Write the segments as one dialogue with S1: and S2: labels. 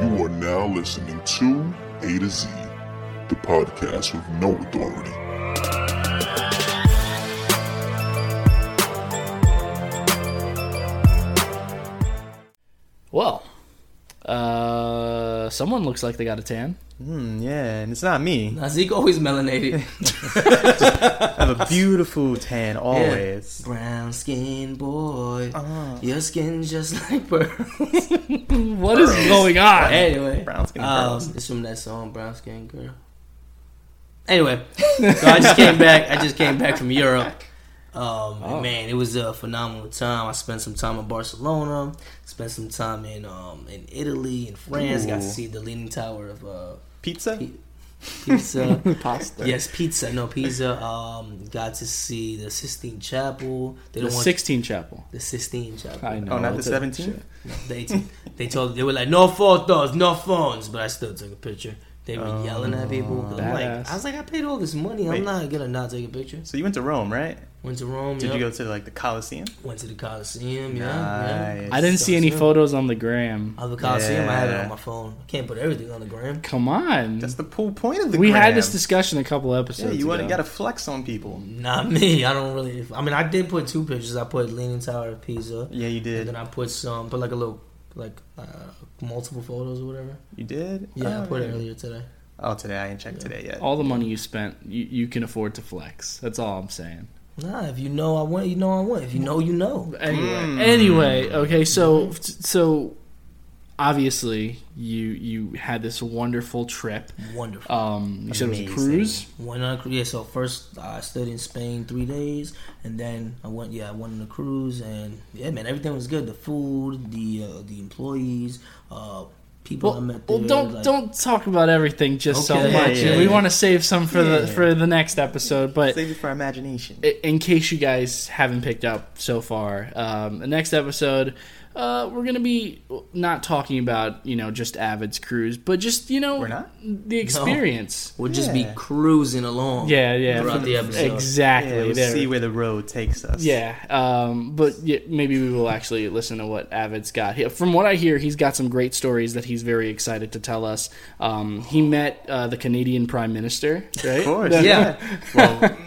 S1: You are now listening to A to Z, the podcast with no authority.
S2: Well, uh, someone looks like they got a tan.
S3: Yeah, and it's not me.
S4: Zeke always melanated.
S3: I have a beautiful tan always.
S4: Brown skin boy, your skin just like pearl.
S2: What is going on?
S4: anyway,
S3: Brown skin
S4: um,
S3: girls.
S4: it's from that song Brown Skin Girl. Anyway, so I just came back. I just came back from Europe. Um, and man, it was a phenomenal time. I spent some time in Barcelona. Spent some time in um, in Italy and France. Got to
S3: Ooh.
S4: see the Leaning Tower of uh,
S3: Pizza?
S4: Pe- Pizza.
S2: Pasta.
S4: yes, pizza. No pizza. Um, got to see the Sistine Chapel. They
S2: The
S4: don't want
S2: 16 Chapel.
S4: the Sistine Chapel.
S2: I know.
S3: Oh, not the
S2: It's a-
S3: 17?
S4: They they told they were like no photos, no phones, but I still took a picture. They were yelling at people. 'cause I'm like,
S2: Oh, badass.
S4: I was like, I paid all this money.
S3: Wait.
S4: I'm not gonna not take a picture.
S3: So you went to Rome, right?
S4: Went to Rome.
S3: Did
S4: yep. Mm-hmm.
S3: you go to like the Coliseum?
S4: Went to the Coliseum. Yeah, yeah.
S3: Nice.
S2: I didn't see any photos on the gram.
S4: Of the Coliseum, I have it
S3: Yeah.
S4: on my phone. I can't put everything on the gram.
S2: Come on.
S3: That's the whole point of the
S2: we had
S3: gram.
S2: this discussion a couple episodes
S3: Yeah, you
S2: ago.
S3: want to flex on people.
S4: Not me. I don't really. I mean, I did put two pictures. I put Leaning Tower of Pisa,
S3: Yeah, you
S4: and
S3: did.
S4: then I put some, put like a little, like uh, multiple photos or whatever.
S3: You did?
S4: Yeah, I
S3: Oh,
S4: put it
S3: yeah.
S4: earlier today.
S3: Oh, today. I didn't check today yet.
S2: All the money you spent, you, you can afford to flex. That's all I'm saying.
S4: Nah, if you know I went, you know I went. If you know, you know.
S2: Anyway,
S3: Hmm.
S2: anyway, okay. So, so obviously, you you had this wonderful trip.
S4: Wonderful.
S2: Um, you said it was a
S3: Amazing.
S2: cruise.
S4: Went on a cruise. uh, Yeah, so first uh, I stayed in Spain three days, and then I went. Yeah, I went on a cruise, and yeah, man, everything was good. The food, the uh, the employees, uh, people I
S2: Well,
S4: met. There,
S2: well don't
S4: like-
S2: don't talk about everything just
S4: Okay.
S2: so
S4: Yeah,
S2: much.
S3: yeah,
S2: we
S3: yeah.
S2: want to save some for
S3: Yeah.
S2: the for the next episode, but
S3: Save it for imagination.
S2: i- in case you guys haven't picked up so far, um, the next episode uh, we're gonna be not talking about you know just Avid's cruise, but just you know
S3: We're not?
S2: the experience.
S4: We'll just be
S3: Yeah.
S4: cruising along.
S2: Yeah, yeah,
S4: Throughout the episode.
S2: exactly.
S3: Yeah, we'll
S2: there.
S3: see where the road takes us.
S2: Yeah, um, but yeah, maybe we will actually listen to what Avid's got. He- From what I hear, he's got some great stories that he's very excited to tell us. Um, he met uh, the Canadian Prime Minister, right?
S3: Of course.
S2: That-
S3: Yeah. well,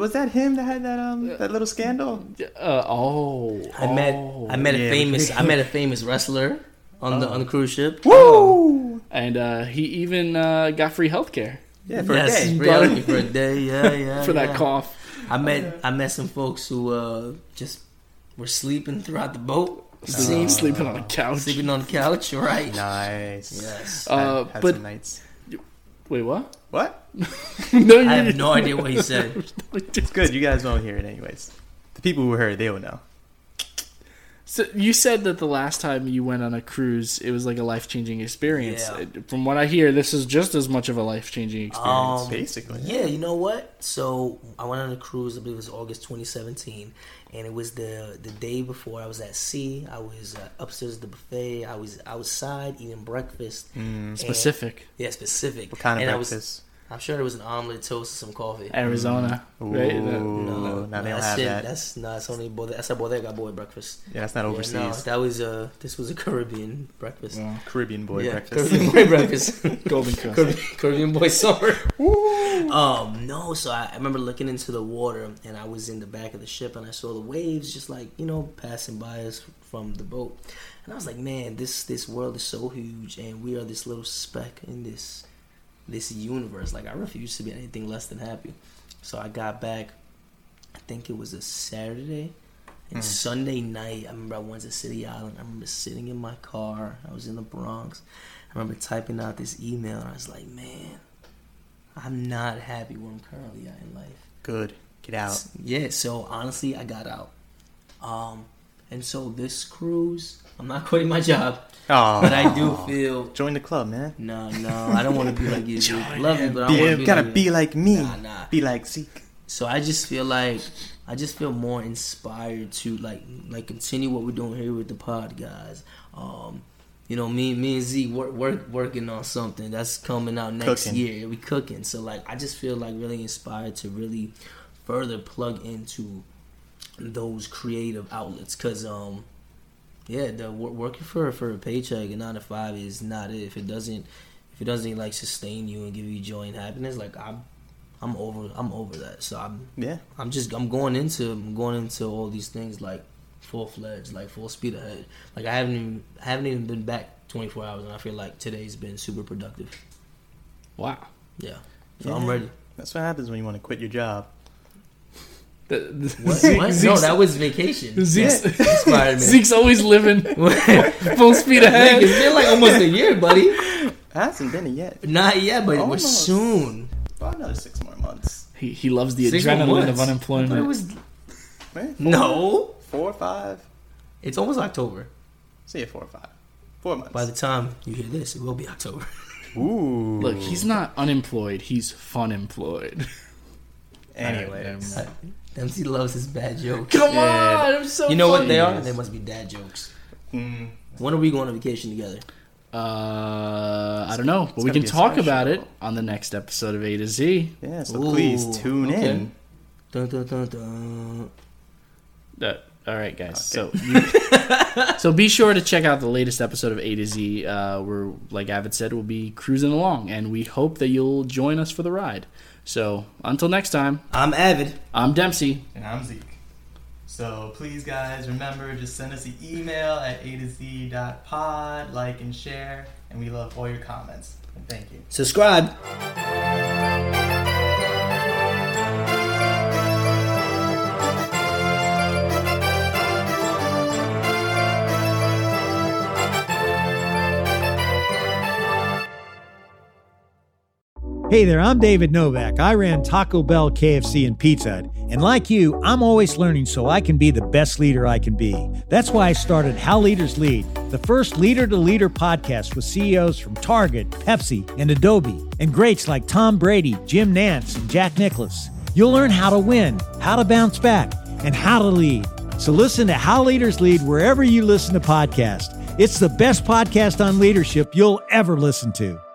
S3: was that him that had that um that little scandal?
S2: Uh, oh,
S4: I met
S2: oh.
S4: I met
S3: yeah. Oh.
S4: a famous I met a famous wrestler on the on the cruise ship.
S3: Woo!
S2: and uh, he even uh, got free healthcare
S3: Yeah, for a
S4: yes,
S3: day.
S4: reality for a day. Yeah, yeah.
S2: for that
S4: yeah.
S2: cough.
S4: I met I met some folks who uh, just were sleeping throughout the boat,
S2: Sleep- sleeping on a couch.
S4: Oh. sleeping on the couch, right?
S3: Nice.
S4: Yes.
S3: Had-
S2: Uh,
S3: had
S2: but-
S3: some nights.
S2: Wait, what?
S3: What?
S2: no,
S4: I
S2: you-
S4: have no idea what he said.
S3: Good. You guys won't hear it anyways. The people who heard, they will know.
S2: So you said that the last time you went on a cruise, it was like a life changing experience.
S4: Yeah.
S2: Uh, From what I hear, this is just as much of a life changing experience.
S4: Um,
S3: Basically.
S4: Yeah, you know what? So I went on a cruise. I believe it was August 2017, and it was the the day before I was at sea. I was uh, upstairs at the buffet. I was outside eating breakfast. and-
S2: Specific.
S4: yeah, specific.
S3: Mm, What kind of
S4: and I was-
S3: breakfast?
S4: I'm sure there was an omelet, toast, and some coffee.
S2: Arizona, right?
S3: Ooh,
S2: That-
S3: now they don't
S4: that's
S3: have
S4: it.
S3: that.
S4: That's not that's only bodega. That's a bodega boy breakfast.
S3: yeah, that's not overseas.
S4: Yeah, no, that was uh this was a Caribbean breakfast.
S2: Yeah.
S3: Caribbean boy
S4: yeah,
S3: breakfast.
S4: Caribbean boy breakfast.
S2: Golden Coast.
S4: Caribbean, Caribbean boy summer. um, no, so I, I remember looking into the water, and I was in the back of the ship, and I saw the waves just like you know passing by us from the boat, and I was like, man, this this world is so huge, and we are this little speck in this this universe. Like I refuse to be anything less than happy. So I got back. I think it was a Saturday. And
S3: Hmm.
S4: Sunday night, I remember I went to City Island. I remember sitting in my car. I was in the Bronx. I remember typing out this email, and I was like, man, I'm not happy where I'm currently at in life.
S3: Good. Get out.
S4: Yeah, so honestly, I got out. Um, And so this cruise, I'm not quitting my job,
S3: Oh,
S4: but I do feel
S3: join the club, man.
S4: no, no, I don't want to be like you. dude. Love you, but I don't
S3: Yeah,
S4: want to be
S3: gotta
S4: like you.
S3: be like me.
S4: Nah, nah.
S3: Be like Zeke.
S4: So I just feel like I just feel more inspired to like like continue what we're doing here with the pod guys. Um, you know, me me and Z work, work working on something that's coming out next
S3: Cooking.
S4: year. We cooking, so like I just feel like really inspired to really further plug into those creative outlets because um yeah the wor- working for for a paycheck and nine to five is not it if it doesn't if it doesn't like sustain you and give you joy and happiness like i'm i'm over i'm over that so i'm
S3: Yeah.
S4: i'm just i'm going into i'm going into all these things like full-fledged like full speed ahead like i haven't even I haven't even been back 24 hours and i feel like today's been super productive
S2: Wow.
S4: yeah so i'm ready
S3: That's what happens when you want to quit your job.
S2: The, the,
S4: what?
S2: Zeke-
S4: What? no
S2: Zeke's,
S4: that was vacation
S2: Zeke's,
S4: inspired me
S2: Zeke's always living full speed
S4: Nick, it's
S2: ahead.
S4: been like almost a year buddy
S3: It hasn't been it yet.
S4: Not yet, but it was
S3: Almost.
S4: soon.
S3: About another six more months.
S2: He, he loves the
S4: Six more
S2: adrenaline
S4: months.
S2: of
S4: But it
S2: unemployment.
S4: was
S3: Right?
S4: no.
S3: Four or five.
S4: It's almost October.
S3: Say it four or five. Four months.
S4: By the time you hear this, it will be October.
S3: Ooh.
S2: Look, he's not unemployed. He's fun employed.
S3: Anyways.
S4: MC loves his bad jokes.
S2: Come on, I'm so.
S4: You know what
S2: funny.
S4: they are? They must be dad jokes.
S3: Mm.
S4: When are we going on vacation together?
S2: Uh, I don't know, but we
S3: gonna
S2: can
S3: be a
S2: talk
S3: special.
S2: about it on the next episode of A to Z.
S3: Yeah, so
S4: Ooh,
S3: please tune
S4: okay.
S3: in.
S4: Dun, dun, dun, dun.
S2: Uh, all right, guys. So, you, so be sure to check out the latest episode of A to Z. Uh, we're like Avid said, we'll be cruising along, and we hope that you'll join us for the ride. So, until next time,
S4: I'm avid.
S2: I'm Dempsey.
S3: And I'm Zeke. So please, guys, remember just send us an email at a to z dot pod, like and share, and we love all your comments. And thank you.
S4: Subscribe.
S5: Hey there, I'm David Novak. I ran Taco Bell, KFC, and Pizza Hut. And like you, I'm always learning so I can be the best leader I can be. That's why I started How Leaders Lead, the first leader to leader podcast with CEOs from Target, Pepsi, and Adobe, and greats like Tom Brady, Jim Nance, and Jack Nicholas. You'll learn how to win, how to bounce back, and how to lead. So listen to How Leaders Lead wherever you listen to podcasts. It's the best podcast on leadership you'll ever listen to.